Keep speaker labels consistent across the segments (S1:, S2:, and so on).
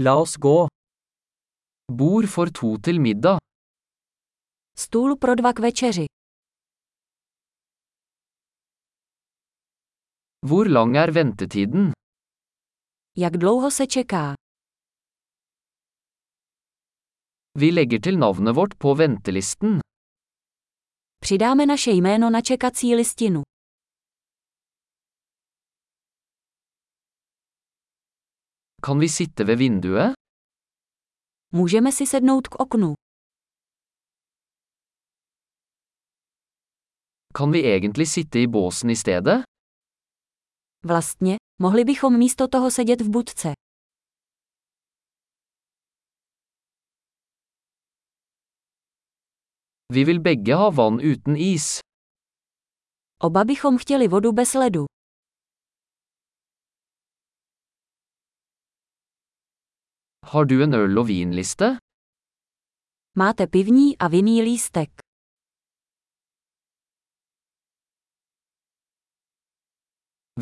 S1: La oss gå. Bord for to til middag.
S2: Stůl pro dva k večeři.
S1: Hvor lang er ventetiden?
S2: Jak dlouho se čeká?
S1: Vi legger til navnet vårt på ventelisten.
S2: Přidáme naše jméno na čekací listinu.
S1: Kan vi sitte ved vinduet?
S2: Můžeme si sednout k oknu.
S1: Kan vi egentlig sitte i båsen i stedet?
S2: Vlastně, mohli bychom místo toho sedět v budce.
S1: Vi vil begge ha vann uten is.
S2: Oba bychom chtěli vodu bez ledu.
S1: Har du en øl- og vinliste?
S2: Máte pivní a vinný lístek.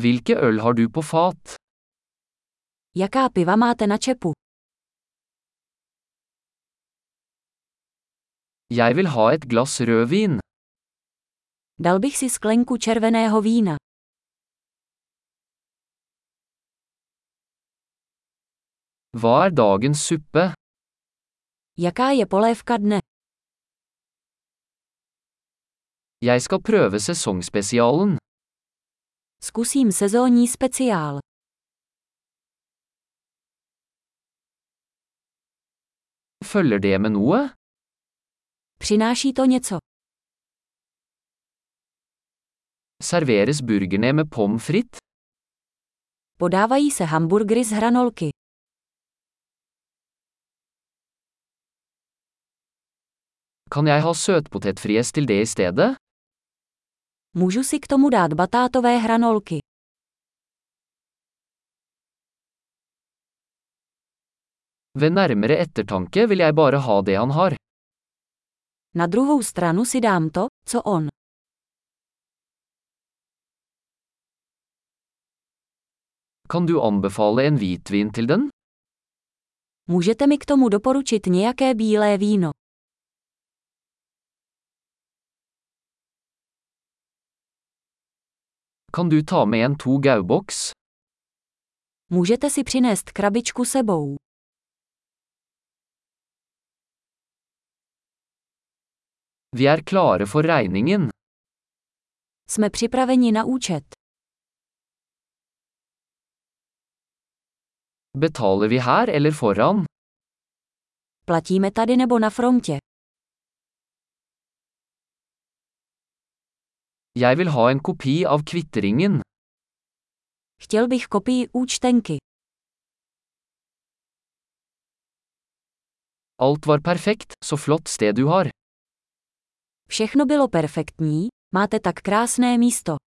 S1: Hvilke øl har du på fat?
S2: Jaká piva máte na čepu?
S1: Jeg vil ha et glass rødvin.
S2: Dal bych si sklenku červeného vína.
S1: Hva er dagens suppe?
S2: Jaká je polévka dne?
S1: Jeg skal prøve sesongspesialen.
S2: Zkusím sezónní speciál.
S1: Følger det med noe?
S2: Přináší to něco.
S1: Serveres burgerne med pommes frites?
S2: Podávají se hamburgery z hranolky.
S1: Kan jeg ha søtpotetfries til det i stedet?
S2: Můžu si k tomu dát batátové hranolky.
S1: Ved nærmere ettertanke vil jeg bare ha det han har.
S2: Na druhou stranu si dám to, co on.
S1: Kan du anbefale en hvitvin til den?
S2: Můžete mi k tomu doporučit nějaké bílé víno.
S1: Kan du ta med en to gauboks?
S2: Můžete si přinést krabičku sebou.
S1: Vi er klare for regningen.
S2: Jsme připraveni na účet.
S1: Betaler vi her eller foran?
S2: Platíme tady nebo na frontě.
S1: Jeg vil ha en kopi av kvitteringen.
S2: Chtěl bych kopii účtenky.
S1: Alt var perfekt, så flott sted du har.
S2: Všechno bylo perfektní, máte tak krásné místo.